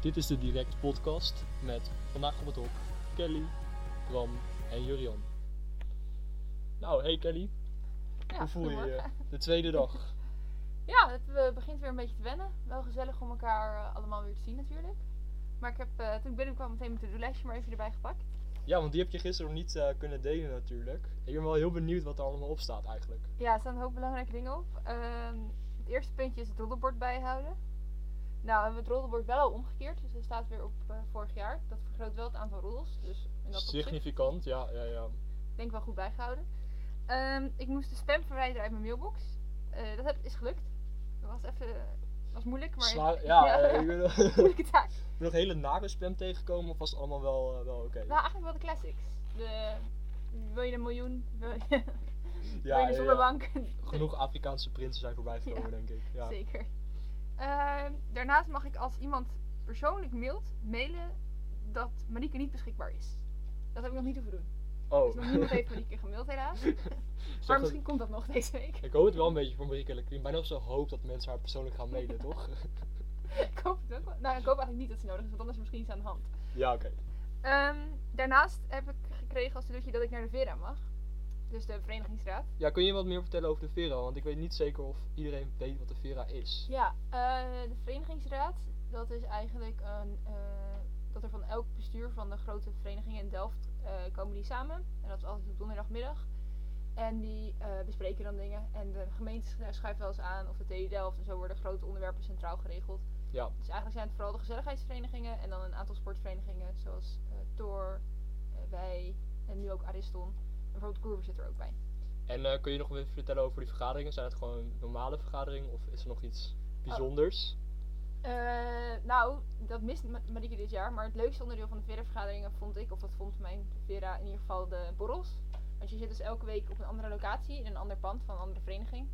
Dit is de Direct Podcast met vandaag op het hok Kelly, Bram en Jurian. Nou, hey Kelly, Ja, hoe voel je je? goedemorgen. De tweede dag. Ja, het eh, begint weer een beetje te wennen. Wel gezellig om elkaar eh, allemaal weer te zien natuurlijk. Maar ik heb, eh, toen ik binnenkwam, meteen mijn to-do-lijstje maar even erbij gepakt. Ja, want die heb je gisteren nog niet eh, kunnen delen natuurlijk. Ik ben wel heel benieuwd wat er allemaal op staat eigenlijk. Ja, er staan een hoop belangrijke dingen op. Ehm, het eerste puntje is het roddelbord bijhouden. Nou, hebben we het roddelbord wel al omgekeerd. Dus dat staat weer op eh, vorig jaar. Dat vergroot wel het aantal roddels. Dus in dat opzicht Significant, ja, ja, ja. denk ik wel goed bijgehouden. Ehm, ik moest de spam verwijderen uit mijn mailbox. Eh, dat heb- is gelukt. Dat was even... was moeilijk, maar... Zwaar- ja, eh, ik ben nog- ik moeilijke taak. ben nog hele nare spam tegengekomen of was het allemaal wel, eh, wel oké? Nou, eigenlijk wel de classics. De, wil je een miljoen? Wil je, wil Ja, je een ja, zonnebank? Genoeg Afrikaanse prinsen zijn voorbij gekomen Ja, denk ik. Ja. Zeker. Ehm, daarnaast mag ik als iemand persoonlijk mailt, mailen dat Marieke niet beschikbaar is. Dat heb ik nog niet hoeven doen. Dus Oh. nog niemand heeft Marieke gemaild helaas. Zeg Maar dat- misschien komt dat nog deze week. Ik hoop het wel een beetje voor Marieke Lekrien. Bijna op zijn hoop dat mensen haar persoonlijk gaan mailen, toch? ik hoop het ook wel. Nou, ik hoop eigenlijk niet dat ze nodig is, want anders is misschien iets aan de hand. Ja, oké. Ehm, daarnaast heb ik gekregen als cadeautje dat ik naar de Vera mag. Dus de Verenigingsraad. Ja, kun je wat meer vertellen over de Vera? Want ik weet niet zeker of iedereen weet wat de Vera is. Ja, eh, de verenigingsraad, dat is eigenlijk een, eh, dat er van elk bestuur van de grote verenigingen in Delft eh, komen die samen. En dat is altijd op donderdagmiddag. En die eh, bespreken dan dingen. En de gemeente schu- schuift wel eens aan of de TU Delft. En zo worden grote onderwerpen centraal geregeld. Ja. Dus eigenlijk zijn het vooral de gezelligheidsverenigingen en dan een aantal sportverenigingen zoals eh Tor, eh, wij en nu ook Ariston. En bijvoorbeeld Koerwer zit er ook bij. En eh, kun je nog even vertellen over die vergaderingen? Zijn het gewoon normale vergaderingen of is er nog iets bijzonders? Eh, nou, dat mist Ma- Marieke dit jaar. Maar het leukste onderdeel van de Vera-vergaderingen vond ik, of dat vond mijn Vera in ieder geval, de borrels. Want je zit dus elke week op een andere locatie, in een ander pand van een andere vereniging.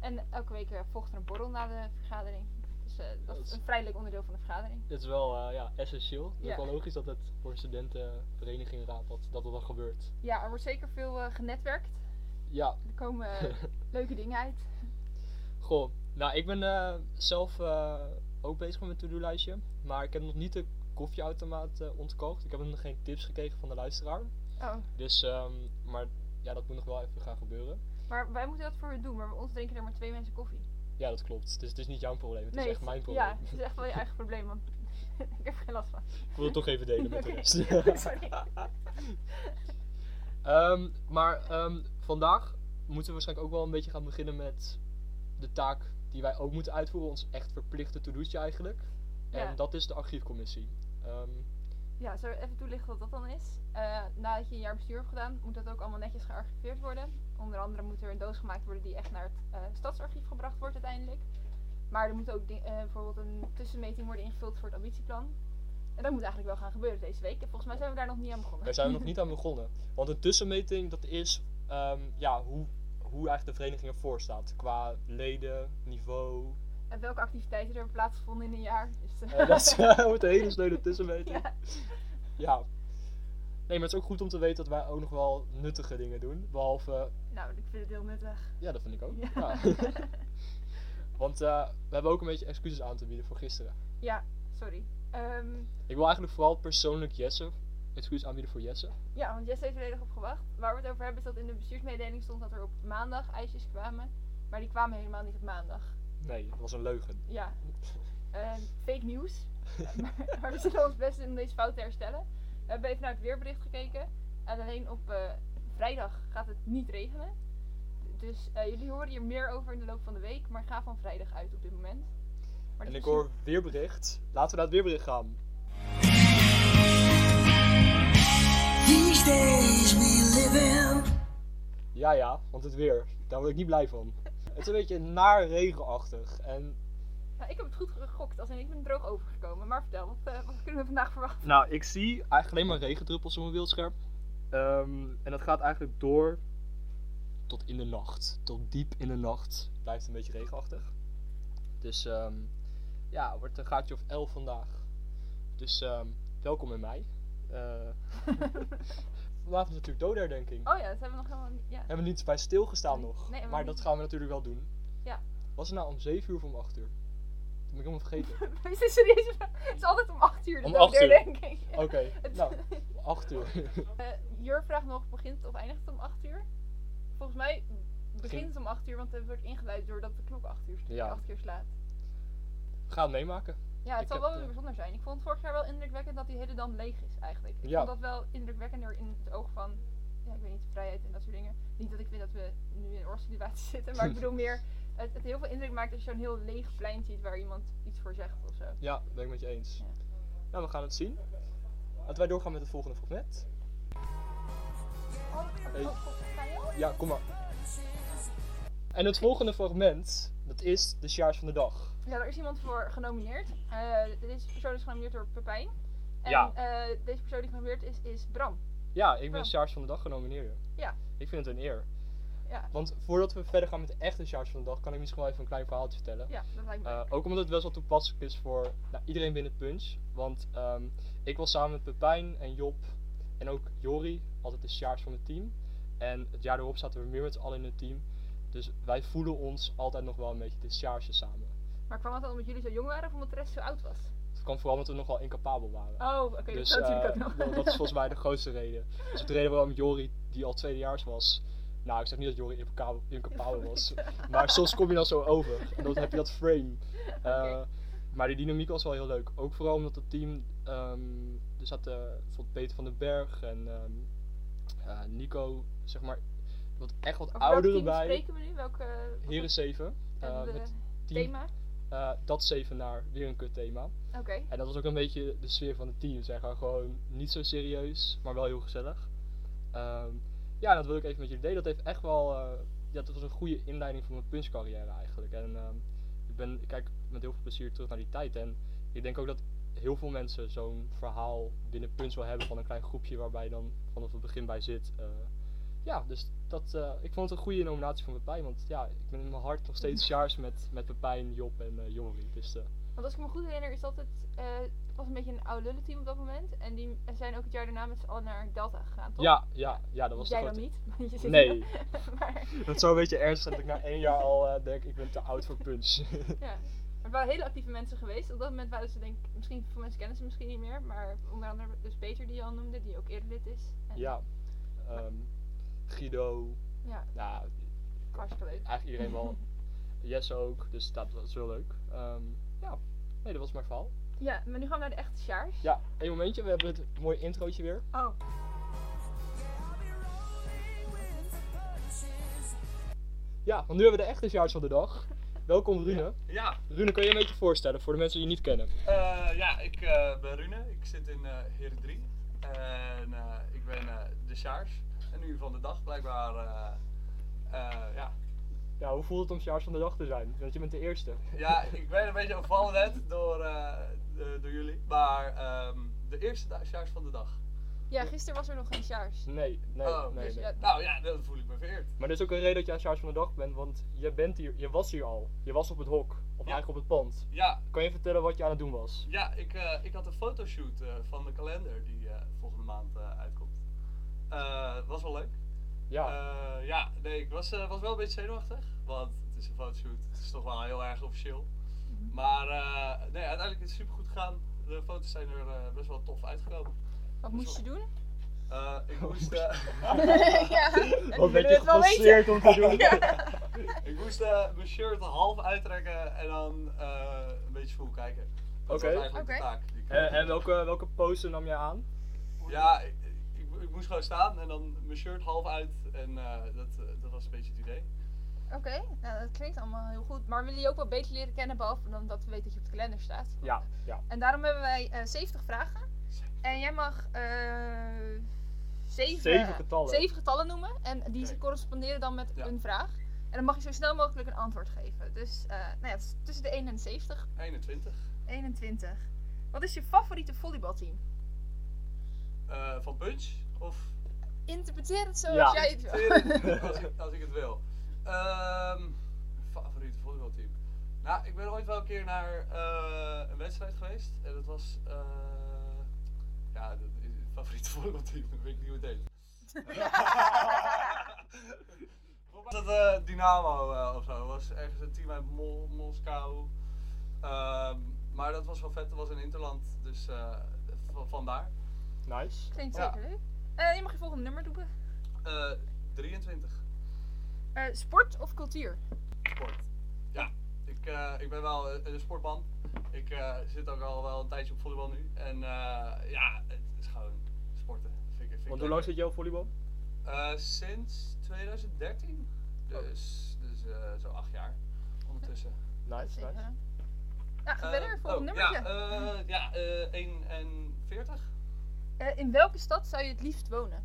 En elke week eh, volgt er een borrel na de vergadering. Dus eh, dat Dat is- is een vrij leuk onderdeel van de vergadering. Het is wel eh, ja, essentieel. Het is Ja. wel logisch dat het voor een studentenverenigingraad dat dat, dat dan gebeurt. Ja, er wordt zeker veel eh, genetwerkt. Ja, Er komen eh, leuke dingen uit. Goh, nou ik ben eh, zelf eh, ook bezig met mijn to-do-lijstje. Maar ik heb nog niet de koffieautomaat eh, ontkocht. Ik heb nog geen tips gekregen van de luisteraar. Oh, Dus, ehm, maar ja, dat moet nog wel even gaan gebeuren. maar wij moeten dat voor u doen. Maar bij ons drinken er maar twee mensen koffie. Ja, dat klopt. Dus het is niet jouw probleem, het is echt mijn probleem. Ja, het is echt wel je eigen probleem. Want ik heb er geen last van. Ik wil het toch even delen met de Oké, rest. sorry. Ehm, maar ehm, vandaag moeten we waarschijnlijk ook wel een beetje gaan beginnen met de taak die wij ook moeten uitvoeren. Ons echt verplichte to-do'tje eigenlijk. Ja. En dat is de archiefcommissie. Ehm, Ja, zullen we even toelichten wat dat dan is? Eh, nadat je een jaar bestuur hebt gedaan, moet dat ook allemaal netjes gearchiveerd worden. Onder andere moet er een doos gemaakt worden die echt naar het eh, stadsarchief gebracht wordt uiteindelijk. Maar er moet ook di- eh, bijvoorbeeld een tussenmeting worden ingevuld voor het ambitieplan. En dat moet eigenlijk wel gaan gebeuren deze week. En volgens mij zijn we daar nog niet aan begonnen. Daar zijn we nog niet aan begonnen. Want een tussenmeting, dat is ehm, ja, hoe, hoe eigenlijk de vereniging ervoor staat. Qua leden, niveau. En welke activiteiten er hebben plaatsgevonden in een jaar. Dus, eh, Eh, dat is eh, wordt een hele snelle tussenmeting. Ja. ja. Nee, maar het is ook goed om te weten dat wij ook nog wel nuttige dingen doen. Behalve, eh, Nou, ik vind het heel nuttig. ja, dat vind ik ook. Ja. Ja. Want eh, we hebben ook een beetje excuses aan te bieden voor gisteren. ja, sorry. Ehm, Ik wil eigenlijk vooral persoonlijk Jesse, excuses aanbieden voor Jesse. Ja, want Jess heeft volledig op gewacht. Waar we het over hebben is dat in de bestuursmededeling stond dat er op maandag ijsjes kwamen. Maar die kwamen helemaal niet op maandag. Nee, dat was een leugen. Ja, eh, fake nieuws. maar, maar we zullen ons best doen om deze fout te herstellen. We hebben even naar het weerbericht gekeken. En alleen op eh, vrijdag gaat het niet regenen. Dus eh, jullie horen hier meer over in de loop van de week. Maar ga van vrijdag uit op dit moment. Maar En ik dat is- dus hoor weerbericht. Laten we naar het weerbericht gaan. These days we live in. Ja, ja, want het weer. Daar word ik niet blij van. Het is een beetje naar regenachtig. En... Nou, ik heb het goed gegokt. Als in, ik ben droog overgekomen. Maar vertel, wat, eh, wat kunnen we vandaag verwachten? Nou, ik zie eigenlijk alleen maar regendruppels op mijn beeldscherm. Ehm, en dat gaat eigenlijk door tot in de nacht. Tot diep in de nacht blijft het een beetje regenachtig. Dus ehm, ja, het wordt een gaatje of 11 vandaag. Dus ehm, welkom in mei. Eh vanavond is natuurlijk doderdenking. Oh ja, dat hebben we nog helemaal niet. Ja. We hebben niet bij stilgestaan Nee, nog. nee, maar helemaal dat niet. gaan we natuurlijk wel doen. Ja. Was het nou om 7 uur of om 8 uur? Dat ben ik helemaal vergeten. We zijn serieus, het is altijd om 8 uur. Dus Om ook acht daar uur. denk ik. Oké, Het- nou, 8 uur. Eh, Jur vraagt nog, begint het of eindigt het om 8 uur? Volgens mij begint het om 8 uur, want het wordt ingeleid doordat de klok 8 uur, Ja. 8 uur slaat. Ga het meemaken. Ja, het Ik zal heb, wel weer eh, bijzonder zijn. Ik vond het vorig jaar wel indrukwekkend dat die hele dam leeg is eigenlijk. Ik Ja. vond dat wel indrukwekkender in het oog van, ja, ik weet niet, vrijheid en dat soort dingen. Niet dat ik vind dat we nu in een oorlogssituatie zitten, maar ik bedoel meer, het, het heel veel indruk maakt als je zo'n heel leeg plein ziet waar iemand iets voor zegt of zo. Ja, ben ik met je eens. Ja. Nou, we gaan het zien. Laten wij doorgaan met het volgende fragment. Hey. Ja, kom maar. En het volgende fragment, dat is de sjaars van de dag. Ja, er is iemand voor genomineerd. Eh, deze persoon is genomineerd door Pepijn. En Ja. eh, deze persoon die genomineerd is, is Bram. Ja, ik ben Ah. sjaars van de dag genomineerd. Ja. Ik vind het een eer. Ja. Want voordat we verder gaan met de echte sjaars van de dag, kan ik misschien wel even een klein verhaaltje vertellen. Ja, dat lijkt me. Eh, leuk. ook omdat het best wel toepasselijk is voor nou, iedereen binnen Punch. Want ehm, ik was samen met Pepijn en Job en ook Jori, altijd de sjaars van het team. En het jaar erop zaten we meer met z'n allen in het team. Dus wij voelen ons altijd nog wel een beetje de sjaarsjes samen. Maar kwam het dan omdat jullie zo jong waren of omdat de rest zo oud was? Het kwam vooral omdat we nog wel incapabel waren. Oh, oké, dus dat is natuurlijk eh, ook dat nog. dat is volgens mij de grootste reden. Dus de reden waarom Jori, die al tweedejaars was... Nou, ik zeg niet dat Jori incapabel, incapabel was. Maar soms kom je dan zo over. En dan heb je dat frame. Eh, Oké. Maar die dynamiek was wel heel leuk. Ook vooral omdat het team. ehm er zaten bijvoorbeeld Peter van den Berg en ehm, eh, Nico, zeg maar. Wat echt wat Over welk ouderen team bij. spreken we nu? Welke, wat Hier is is 7. het, eh, met team. thema? eh, dat 7 naar weer een kut thema. Oké. En dat was ook een beetje de sfeer van het team. Zeg maar gewoon niet zo serieus, maar wel heel gezellig. Ehm, ja, dat wil ik even met jullie delen. Dat heeft echt wel. eh, ja, dat was een goede inleiding voor mijn punchcarrière eigenlijk. En ehm, ik, ben, ik kijk met heel veel plezier terug naar die tijd. En ik denk ook dat heel veel mensen zo'n verhaal binnen punch wel hebben van een klein groepje waarbij je dan vanaf het begin bij zit. eh. ja, dus dat, eh, ik vond het een goede nominatie van Pepijn. Want ja, ik ben in mijn hart nog steeds jaars met, met Pepijn, Job en eh Jori. Dus eh, Want als ik me goed herinner, is dat het. eh, het was een beetje een oude lullenteam op dat moment. En die zijn ook het jaar daarna met z'n allen naar Delta gegaan, toch? ja, ja, ja, dat was de Jij grote- dan niet? want je zit Nee, hier. maar, dat zou een beetje ernstig zijn dat ik na één jaar al eh, denk ik ben te oud voor punch. ja. Maar wel hele actieve mensen geweest. Op dat moment waren ze, denk ik, misschien veel mensen kennen ze misschien niet meer. Maar onder andere, dus Peter die je al noemde, die ook eerder lid is. En, ja, ehm, Guido, ja, nou, hartstikke leuk. eigenlijk iedereen wel. Jesse ook, dus dat was heel leuk. Ehm, ja, nee, dat was mijn verhaal. Ja, maar nu gaan we naar de echte sjaars. Ja, één momentje, we hebben het mooie introotje weer. Oh, Ja, want nu hebben we de echte Sjaars van de dag. Welkom Rune. Ja, Rune, kun je je een beetje voorstellen voor de mensen die je niet kennen? eh, ja ik eh, ben Rune. Ik zit in eh Heren 3. En eh, ik ben eh, de Sjaars. En nu van de dag blijkbaar. eh, eh, ja. Ja, hoe voelt het om Sjaars van de dag te zijn? Want je bent de eerste. ja, ik ben een beetje overvallen net door, eh, eh, door jullie. Maar ehm, de eerste da- Sjaars van de dag. ja, gisteren was er nog geen sjaars. Nee, nee, Oh, nee, dus nee. ja, Nou ja, dat voel ik me vereerd. Maar er is ook een reden dat jij Sjaars van de dag bent, want je, bent hier, je was hier al. Je was op het hok, of Ja. eigenlijk op het pand. Ja, Kan je vertellen wat je aan het doen was? ja ik, eh, ik had een fotoshoot eh, van de kalender die eh, volgende maand eh, uitkomt. Eh, was wel leuk. Ja, Eh, ja, nee, ik was, eh, was wel een beetje zenuwachtig. Want het is een fotoshoot. Het is toch wel heel erg officieel. Mhm. Maar eh, nee, uiteindelijk is het super goed gegaan. De foto's zijn er eh, best wel tof uitgekomen. Wat moest je doen? Eh, Oh, ik, moest, eh, ja, wat ben je geforceerd om te doen? ik moest eh, mijn shirt half uittrekken en dan eh, een beetje voel kijken. Dat Oké. was eigenlijk Oké. de taak. die ik- en en Eh, welke, welke pose nam je aan? Ja, ik, ik, ik moest gewoon staan en dan mijn shirt half uit. En eh, dat, eh, dat was een beetje het idee. Oké, nou dat klinkt allemaal heel goed. Maar we willen je ook wel beter leren kennen, behalve dan dat we weten dat je op de kalender staat. Ja, ja. En daarom hebben wij eh 70 vragen. En jij mag eh 7, Zeven getallen. getallen noemen. En die Oké. corresponderen dan met Ja. een vraag. En dan mag je zo snel mogelijk een antwoord geven. Dus eh, nou ja, het is tussen de 1 en de 70. 21 21. Wat is je favoriete volleybalteam? eh, van Punch of Interpreteer het Ja. zoals jij het wil. Tering, als, ik, als ik het wil. Ehm favoriete volleybalteam. Nou, ik ben ooit wel een keer naar eh, een wedstrijd geweest. En dat was. eh, ja, dat is het favoriete volleybalteam. Ik weet ik niet hoe het heet. Volgens mij was dat eh, Dynamo eh of zo. Dat was ergens een team uit Mol, Moskou. Ehm, maar dat was wel vet, dat was in Interland, dus eh, v- vandaar. Nice. Klinkt Ja. zeker leuk. Eh, je mag je volgende nummer doen. Eh 23, Eh, sport of cultuur? sport. Ja, ik, eh, ik ben wel een, een sportman. Ik eh, zit ook al wel een tijdje op volleybal nu. En eh, ja, het is gewoon sporten. Vind ik, vind ik Want hoe leuk. lang zit jouw volleybal? Eh, sinds 2013. Oh. Dus, dus eh, zo acht jaar ondertussen. Nice, Zeker. nice. Ja, ga verder, Eh, volgende oh, nummertje. Ja, eh ja eh 41. Eh, in welke stad zou je het liefst wonen?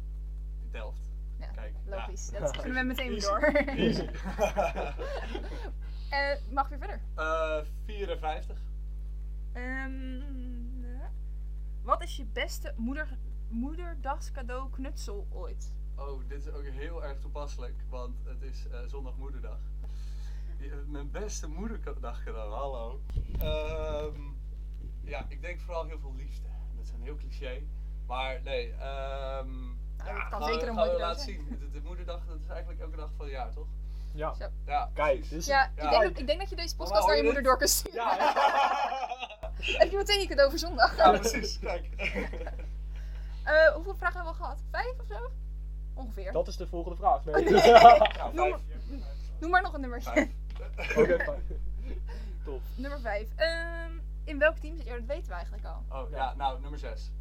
Delft. Ja, Kijk. Logisch, Ja. dat kunnen we meteen weer door. Easy. Eh, mag weer verder. Ja. Eh, 54. Ehm, eh, wat is je beste moeder, moederdagscadeau knutsel ooit? Oh, dit is ook heel erg toepasselijk, want het is eh, zondag moederdag. Je- Mijn beste moederdag gedaan, hallo. Ehm, ja, ik denk vooral heel veel liefde. Dat is een heel cliché. Maar nee, ehm Nou, dat ja, kan gaan zeker we, een gaan we moederdag laten zijn. zien. De, de moederdag, dat is eigenlijk elke dag van het jaar, toch? Ja. Zo. Ja, Kijk, dus precies. dit is- Ja, Ja. Ik, denk dat, ik denk dat je deze podcast Mama, naar hoor je moeder je dit? door kunt sturen. Ja, Heb je meteen je cadeau voor zondag? ja, precies, kijk. Eh, hoeveel vragen hebben we gehad? Vijf of zo? Ongeveer. Dat is de volgende vraag. Nee. Nee. Ja, Noem, vijf. noem maar nog een nummertje. Vijf. Oké, fijn. Top. Nummer vijf. Ehm, in welk team zit je? Oh, Dat weten we eigenlijk al. Oh ja, nou, nummer 6.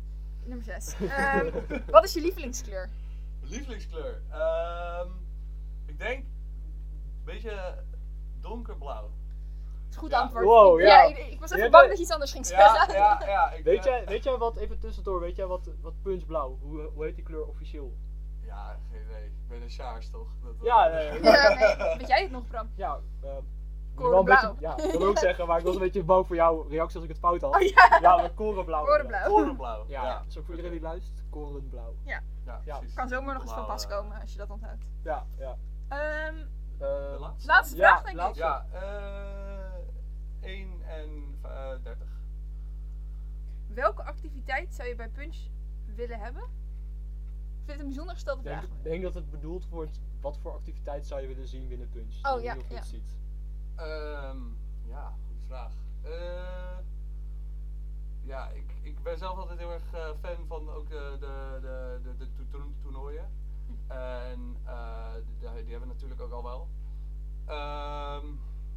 Nummer zes. Ehm, wat is je lievelingskleur? Lievelingskleur. Ehm, ik denk een beetje donkerblauw. Dat is goed Ja. antwoord. Wow, Ik- ja. ik, ik was Je even hebt bang een- dat je iets anders ging Ja, zeggen. ja, ja. Ik, Weet eh, jij, weet jij wat, even tussendoor, weet jij wat, wat punchblauw, hoe, hoe heet die kleur officieel? Ja, geen idee. Ik ben een Sjaars toch? Dat, Ja, eh, nee. Ja, nee. Weet jij het nog, Bram? Ja, eh, ik wil wel een Korenblauw. beetje, ja, ik wil ook zeggen, maar ik was een beetje bang voor jouw reactie als ik het fout had. Oh ja, Ja, maar korenblauw. korenblauw. Korenblauw. Ja, ja. is ook voor iedereen die luistert, korenblauw. Ja. precies. Kan zomaar nog eens van pas Blauw, eh, komen als je dat onthoudt. Ja, ja. Ehm, Eh, de laatste? laatste Ja, vraag, denk ik. laatste. Ja, eh 1 en eh 30. Welke activiteit zou je bij Punch willen hebben? Ik vind het een bijzonder gestelde Ik denk, vraag. ik denk dat het bedoeld wordt, wat voor activiteit zou je willen zien binnen Punch? Dat je Oh, ja, nog ja. iets ziet. Ehm, ja, goede vraag. Eh, ja, ik, ik ben zelf altijd heel erg eh, fan van ook de, de, de, de, de to- toerno- toernooien. En eh, die, die hebben we natuurlijk ook al wel. Ehm,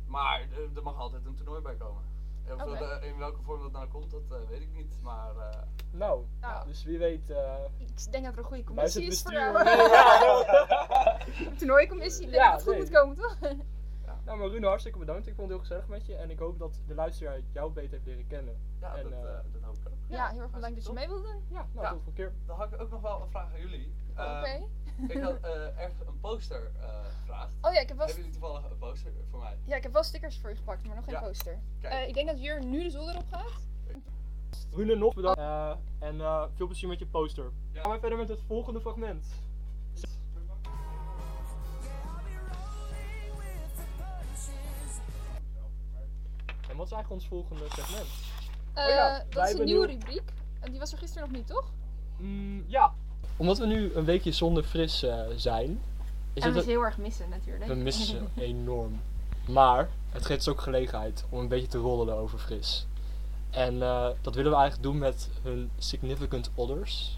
maar er, er mag altijd een toernooi bij komen. Of dat, Oké. eh, in welke vorm dat nou komt, dat eh, weet ik niet. Maar eh, Nou, Nou, dus wie weet, eh ik denk dat er een wij goede commissie zitten is voor bestuur. jou. Nee, ja, Een toernooicommissie, ik denk Ja, dat het goed nee. moet komen, toch? nou, maar Rune, hartstikke bedankt. Ik vond het heel gezellig met je en ik hoop dat de luisteraar jou beter heeft leren kennen. ja, En, dat, eh, eh, dat hoop ik ook. Ja, heel erg bedankt dat je top. mee wilde. doen. Ja, nou, Ja. tot de volgende keer. Dan had ik ook nog wel een vraag aan jullie. Oké. Ehm, Ik had eh, ergens een poster eh, gevraagd. Oh ja ik, heb wel Hebben jullie toevallig een poster voor mij? ja, ik heb wel stickers voor je gepakt, maar nog geen Ja. poster. Kijk. Eh, ik denk dat Jur nu de zolder op gaat. Rune, nog bedankt. Eh, en eh, veel plezier met je poster. Ja. Gaan we verder met het volgende fragment. En wat is eigenlijk ons volgende segment? Eh, Oh ja, wij dat is een hebben nieuwe nieuw- rubriek. En die was er gisteren nog niet, toch? Mm, ja. Omdat we nu een weekje zonder fris eh, zijn, is en we het ze heel erg missen, natuurlijk. we missen ze enorm. Maar het geeft ons ook gelegenheid om een beetje te roddelen over fris. En eh, dat willen we eigenlijk doen met hun significant others.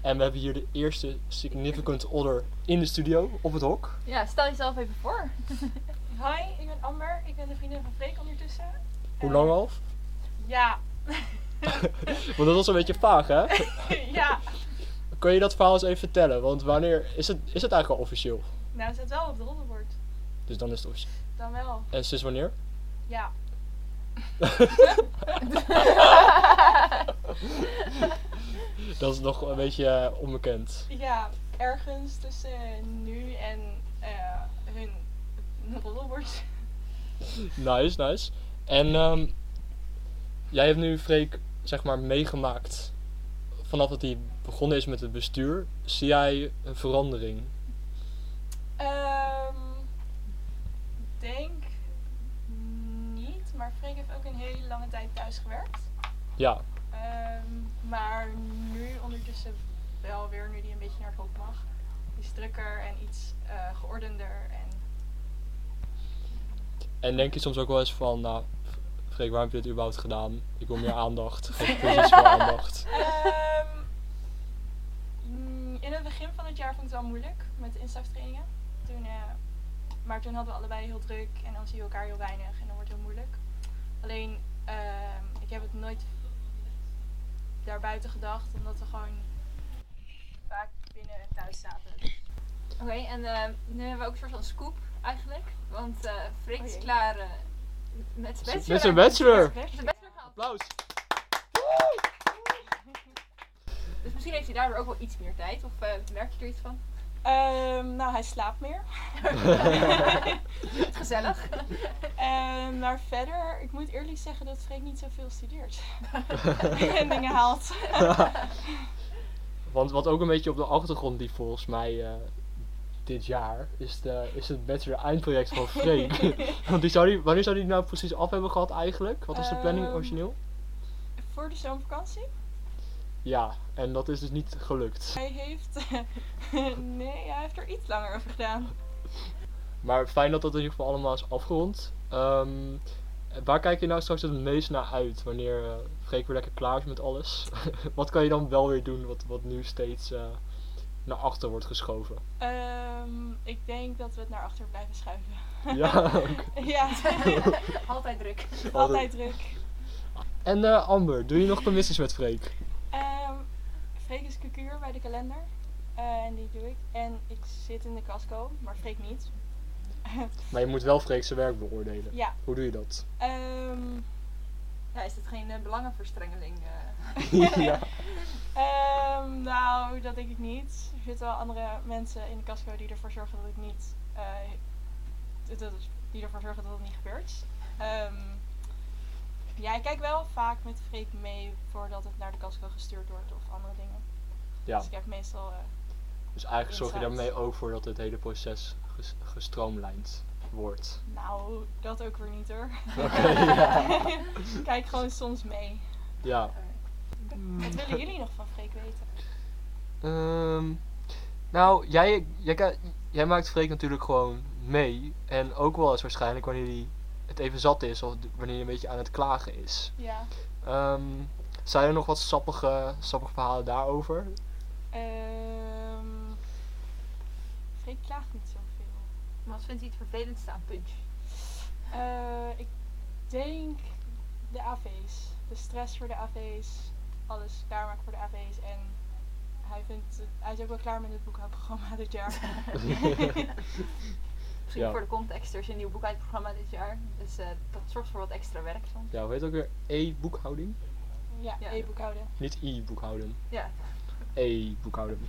En we hebben hier de eerste significant other in de studio op het hok. Ja, stel jezelf even voor. Hi, ik ben Amber. Ik ben de vriendin van Freek ondertussen. Hoe lang al? Ja, Want dat was een beetje vaag, hè? ja. Kun je dat verhaal eens even vertellen? Want wanneer is het, is het eigenlijk al officieel? Nou, het staat wel op het roddelbord. Dus dan is het officieel. Dan wel. En sinds wanneer? Ja. Dat is nog een beetje eh, onbekend. Ja, ergens tussen nu en eh, hun roddelbord. Nice, nice. En ehm, jij hebt nu Freek, zeg maar, meegemaakt vanaf dat hij begonnen is met het bestuur. Zie jij een verandering? Ehm, denk niet, maar Freek heeft ook een hele lange tijd thuis gewerkt. Ja, Ehm, maar nu ondertussen wel weer, nu die een beetje naar het hok mag. Iets drukker en iets eh, geordender en en denk je soms ook wel eens van, nou, F- Freek, waarom heb je dit überhaupt gedaan? Ik wil meer aandacht. Geef cursus voor aandacht. Ehm, mm, in het begin van het jaar vond ik het wel moeilijk met de instaptrainingen. Toen, eh, maar toen hadden we allebei heel druk en dan zie je elkaar heel weinig en dan wordt het heel moeilijk. Alleen, ehm, ik heb het nooit daarbuiten gedacht, omdat we gewoon vaak binnen en thuis zaten. Oké, en eh, nu hebben we ook een soort van scoop eigenlijk. Want eh Freek is Oh jee. klaar eh, met zijn bachelor. Met zijn bachelor! Weg. Zijn bachelor gehaald. Applaus! Dus misschien heeft hij daardoor ook wel iets meer tijd. Of eh, merk je er iets van? Ehm, nou, hij slaapt meer. Het is gezellig. Ehm, maar verder, ik moet eerlijk zeggen dat Freek niet zoveel studeert. en dingen haalt. Want wat ook een beetje op de achtergrond die volgens mij eh, dit jaar is, de, is het bachelor eindproject van Freek. Want die zou die, wanneer zou die nou precies af hebben gehad eigenlijk? Wat is de planning Ehm. origineel? Voor de zomervakantie. Ja, en dat is dus niet gelukt. Hij heeft. nee, hij heeft er iets langer over gedaan. Maar fijn dat dat in ieder geval allemaal is afgerond. Ehm, waar kijk je nou straks het meest naar uit wanneer eh Freek weer lekker klaar is met alles? wat kan je dan wel weer doen wat, wat nu steeds eh, naar achter wordt geschoven? Ehm, ik denk dat we het naar achter blijven schuiven. ja, ook. ja, Altijd druk. altijd druk. En eh, Amber, doe je nog commissies met Freek? Ehm Freek is cucuur bij de kalender. Eh, en die doe ik. En ik zit in de casco, maar Freek niet. Maar je moet wel Freek zijn werk beoordelen. Ja. Hoe doe je dat? Ehm, Ja, is dit geen eh, belangenverstrengeling? eh? ja. Ehm, nou, dat denk ik niet. Er zitten wel andere mensen in de casco die ervoor zorgen dat ik niet. eh, dat, die ervoor zorgen dat het niet gebeurt. Ehm, ja, ik kijk wel vaak met Freek mee voordat het naar de casco gestuurd wordt of andere dingen. ja. Dus ik kijk meestal. eh, Dus eigenlijk zorg je Insight. daarmee ook voor dat het hele proces ges- gestroomlijnd wordt. nou, dat ook weer niet hoor. Oké, ja. Ik kijk gewoon soms mee. Ja. Wat willen jullie nog van Freek weten? Ehm, nou, jij, jij, ka- jij maakt Freek natuurlijk gewoon mee. En ook wel eens waarschijnlijk wanneer hij het even zat is of d- wanneer hij een beetje aan het klagen is. Ja. Ehm, zijn er nog wat sappige, sappige verhalen daarover? Ehm, Freek klaagt niet zoveel. Wat vindt hij het vervelendste aan Punch? Eh, ik denk de AV's. De stress voor de AV's. Alles klaarmaken voor de AV's. En hij, vindt, het- hij is ook wel klaar met het boekhoudprogramma dit jaar. Misschien Ja. voor de context, er is een nieuw boek uit het programma dit jaar. Dus eh, dat zorgt voor wat extra werk soms. Ja, hoe heet het ook weer? E-boekhouding? ja, Ja. e-boekhouden. Niet I-boekhouden. Ja. E-boekhouden.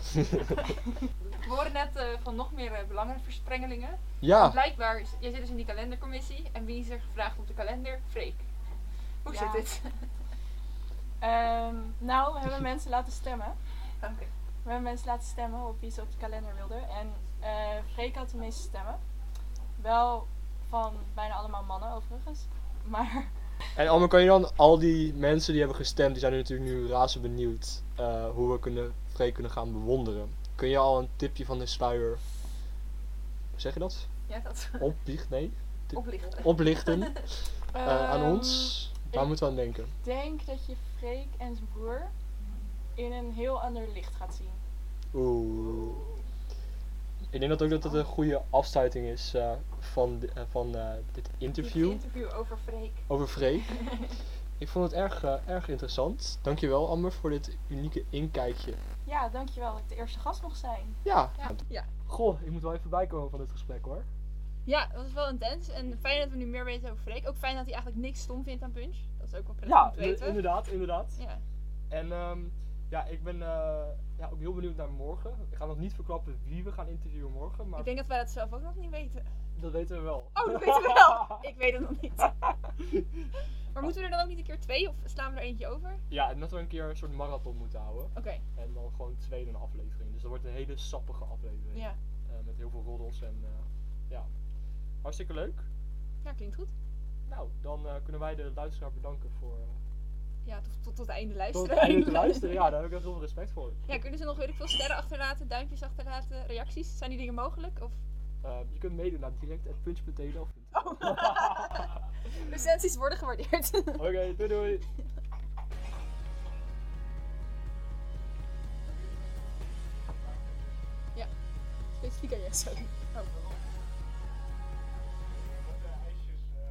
We horen net eh, van nog meer eh, belangenversprengelingen. ja. Blijkbaar, is- jij zit dus in die kalendercommissie. En wie is er gevraagd op de kalender? Freek. Hoe Ja. zit dit? Ehm, nou, we hebben mensen laten stemmen. Oké. We hebben mensen laten stemmen op wie ze op de kalender wilden. En eh Freek had de meeste stemmen. Wel van bijna allemaal mannen overigens. Maar En Almer, kan je dan al die mensen die hebben gestemd, die zijn nu natuurlijk nu razend benieuwd eh, hoe we kunnen, Freek kunnen gaan bewonderen. Kun je al een tipje van de sluier, hoe zeg je dat? Ja, dat Opbiecht? Nee? Tip- oplichten. Oplichten eh, aan ehm, ons. Waar ik- moeten we aan denken? denk dat je Freek en zijn broer in een heel ander licht gaat zien. Oeh. Ik denk dat ook dat het een goede afsluiting is eh, van, de- eh, van eh, dit interview interview over Freek. over Freek. Ik vond het erg, eh, erg interessant. Dankjewel Amber voor dit unieke inkijkje. Ja, dankjewel dat ik de eerste gast mocht zijn. Ja. Ja. Ja. Goh, ik moet wel even bijkomen van dit gesprek hoor. Ja, dat was wel intens. En fijn dat we nu meer weten over Freek. Ook fijn dat hij eigenlijk niks stom vindt aan Punch. Dat is ook wel prettig om te i- weten. inderdaad, inderdaad. Ja. En ehm, ja, ik ben eh, ja, ook heel benieuwd naar morgen. Ik ga nog niet verklappen wie we gaan interviewen morgen, maar Ik denk dat wij dat zelf ook nog niet weten. dat weten we wel. Oh, dat weten we wel. Ik weet het nog niet. Maar moeten we er dan ook niet een keer twee of slaan we er eentje over? Oké. Ja, en dat we een keer een soort marathon moeten houden. En dan gewoon twee in een aflevering. Dus dat wordt een hele sappige aflevering. Ja. Eh, met heel veel roddels en eh, ja. Hartstikke leuk. ja, klinkt goed. Nou, dan eh, kunnen wij de luisteraar bedanken voor... eh, Ja, tot, tot, tot het einde tot luisteren. het einde te luisteren. Ja, daar heb ik echt heel veel respect voor. Ja, kunnen ze nog weet ik veel sterren achterlaten, duimpjes achterlaten, reacties? Zijn die dingen mogelijk? Of... Eh, je kunt meedoen naar direct.punch.nl. Oh. Recensies worden gewaardeerd. Oké, doei doei. Specifiek aan jou zo. Oh.